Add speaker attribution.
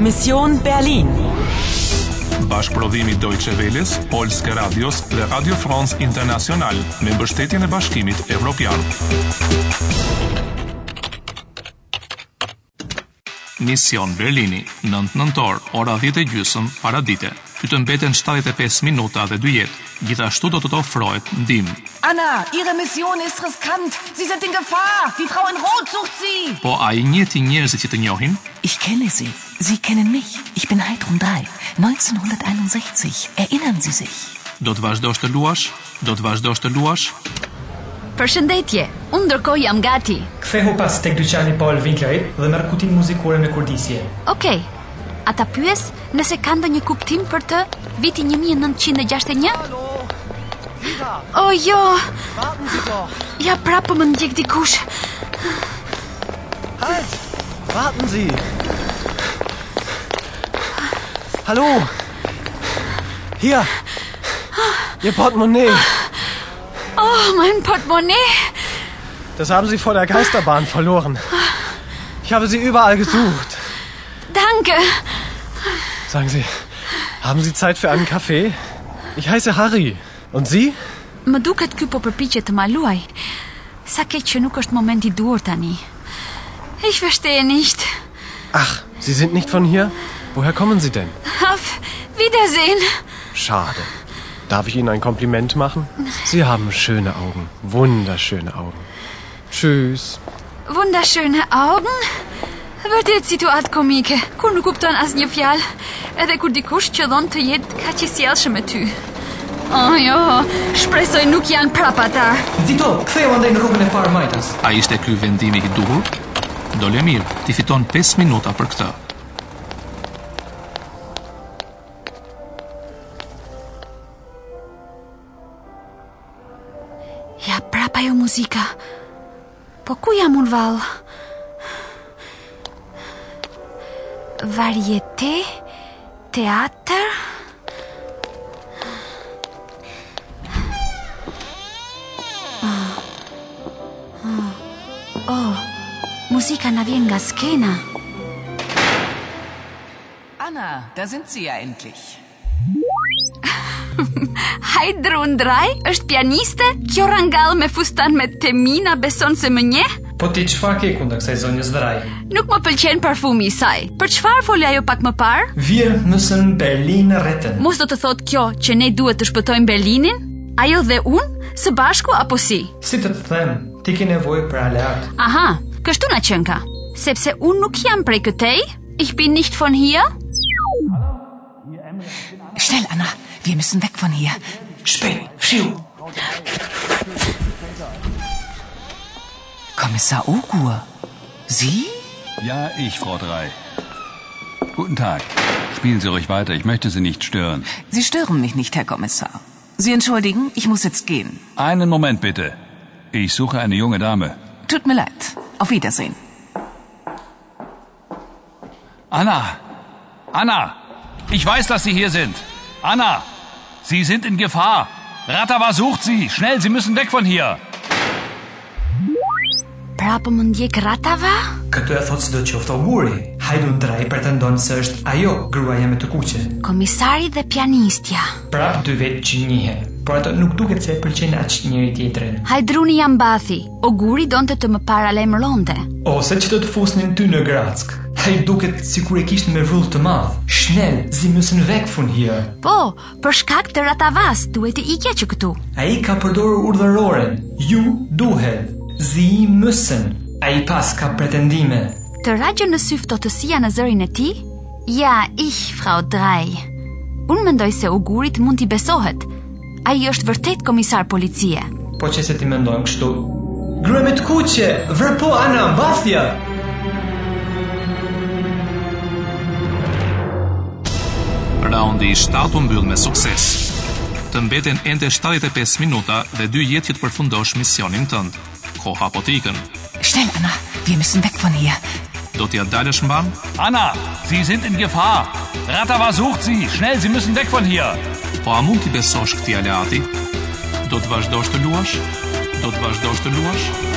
Speaker 1: Mission Berlin.
Speaker 2: Bashkëprodhimi Deutsche Welles, Polske Radios dhe Radio France International me mbështetjen e Bashkimit Evropian. Mision Berlini, 9 nëntor, ora 10 e gjysëm, paradite. Ty të mbeten 75 minuta dhe 2 jetë. Gjithashtu do të të ofrohet ndihmë.
Speaker 3: Anna, Ihre Mission ist riskant. Sie sind in Gefahr. Die Frau in Rot sucht Sie.
Speaker 2: Po a i njeti njerëzit që të njohin?
Speaker 4: Ich kenne Sie. Sie kennen mich. Ich bin Heidrun 3, 1961. Erinnern Sie sich?
Speaker 2: Do të vazhdosh të luash? Do të vazhdosh të luash?
Speaker 5: Përshëndetje, unë ndërkohë jam gati.
Speaker 6: Kthehu pas tek dyqani Paul Winkleri dhe merr kutin muzikore me kurdisje.
Speaker 5: Okej. Ata pyes nëse ka ndonjë kuptim për të vitin 1961? O jo,
Speaker 7: Warten Sie doch!
Speaker 5: ja prapë më ndjek dikush.
Speaker 7: Halt! Warten Sie! Hallo! Hier! Ihr Portemonnaie!
Speaker 5: Oh, mein portemonnaie.
Speaker 7: Das haben Sie vor der Geisterbahn verloren. Ich habe Sie überall gesucht.
Speaker 5: Danke.
Speaker 7: Sagen Sie, haben Sie Zeit für einen Kaffee? Ich heiße Harry. Und Sie?
Speaker 5: Më duket ky po përpiqet të ma luaj. Sa keq që nuk është momenti i duhur tani. Ich verstehe nicht.
Speaker 7: Ach, Sie sind nicht von hier? Woher kommen Sie denn?
Speaker 5: Auf Wiedersehen.
Speaker 7: Schade. Darf ich Ihnen ein Kompliment machen? Sie haben schöne Augen. Wunderschöne Augen. Tschüss.
Speaker 5: Wunderschöne Augen. Vërtet situatë komike, kur nuk kupton asnjë fjalë, edhe kur dikush qëllon të jetë kaq i sjellshëm me ty. Oh jo, shpresoj nuk janë prapa ata.
Speaker 6: Zito, ktheu andaj në rrugën e parë majtas.
Speaker 2: A ishte ky vendimi i duhur? Dole mirë, ti fiton 5 minuta për këtë.
Speaker 5: Ja prapa jo muzika. Po ku jam unë val? Varjete, teatër... Ah, ah, Oh, muzika na vjen nga skena.
Speaker 3: Anna, da sind Sie ja endlich.
Speaker 5: Hajdrun Draj është pianiste, kjo rangal me fustan me temina beson se më njeh?
Speaker 6: Po ti çfarë ke kundër kësaj zonjës Draj?
Speaker 5: Nuk më pëlqen parfumi i saj. Për çfarë foli ajo pak më parë?
Speaker 6: Wir müssen Berlin retten.
Speaker 5: Mos do të thotë kjo që ne duhet të shpëtojmë Berlinin? Ajo dhe unë së bashku apo si?
Speaker 6: Si të të them, ti ke nevojë për aleat.
Speaker 5: Aha, kështu na qen ka. Sepse unë nuk jam prej këtej. Ich bin nicht von hier.
Speaker 4: Schnell, Anna. Wir müssen weg von hier.
Speaker 6: Shpejt, shiu.
Speaker 4: Kommissar Ogur. Sie?
Speaker 8: Ja, ich, Frau Drei. Guten Tag. Spielen Sie ruhig weiter, ich möchte Sie nicht stören.
Speaker 4: Sie stören mich nicht, Herr Kommissar. Sie entschuldigen, ich muss jetzt gehen.
Speaker 8: Einen Moment bitte. Ich suche eine junge Dame.
Speaker 4: Tut mir leid. Auf Wiedersehen.
Speaker 8: Anna! Anna! Ich weiß, dass Sie hier sind. Anna! Sie sind in Gefahr. Ratava sucht Sie. Schnell, Sie müssen weg von hier.
Speaker 5: Prapë Pra po më ndjek ratava?
Speaker 6: Këtë e thot s'do qoftë auguri. Hajdun Draj pretendon se është ajo gruaja me të kuqe.
Speaker 5: Komisari dhe pianistja.
Speaker 6: Pra dy vetë që njihen. Por ato nuk duket se e pëlqejnë aq njëri tjetrin.
Speaker 5: Hajdruni jam bathi. Oguri donte të më paralajmëronte.
Speaker 6: Ose që do të fusnin ty në Gratsk. Ai duket sikur e kishte me vull të madh. Schnell, sie müssen weg von hier.
Speaker 5: Po, për shkak të ratavas, duhet të ikja që këtu.
Speaker 6: Ai ka përdorur urdhëroren. Ju duhet. Sie müssen. Ai pas ka pretendime.
Speaker 5: Të ragjë në sy ftohtësia në zërin e ti? Ja, ich, Frau Draj. Unë mendoj se ugurit mund t'i besohet. A i është vërtet komisar policie.
Speaker 6: Po që se ti mendojmë kështu. Gruaj me të kuqe, vërpo Ana Mbathja.
Speaker 2: Raundi i 7 u mbyll me sukses. Të mbeten ende 75 minuta dhe dy jetë që të përfundosh misionin tënd. Koha po të ikën.
Speaker 4: Schnell, Anna. Wir müssen weg von hier.
Speaker 2: Do t'ja dalësh mban?
Speaker 8: Anna! Sie sind in Gefahr. Ratava sucht Sie. Schnell, Sie müssen weg von hier.
Speaker 2: Po a mund t'i besosh këtij aleati? Do të vazhdosh të luash? Do të vazhdosh të luash?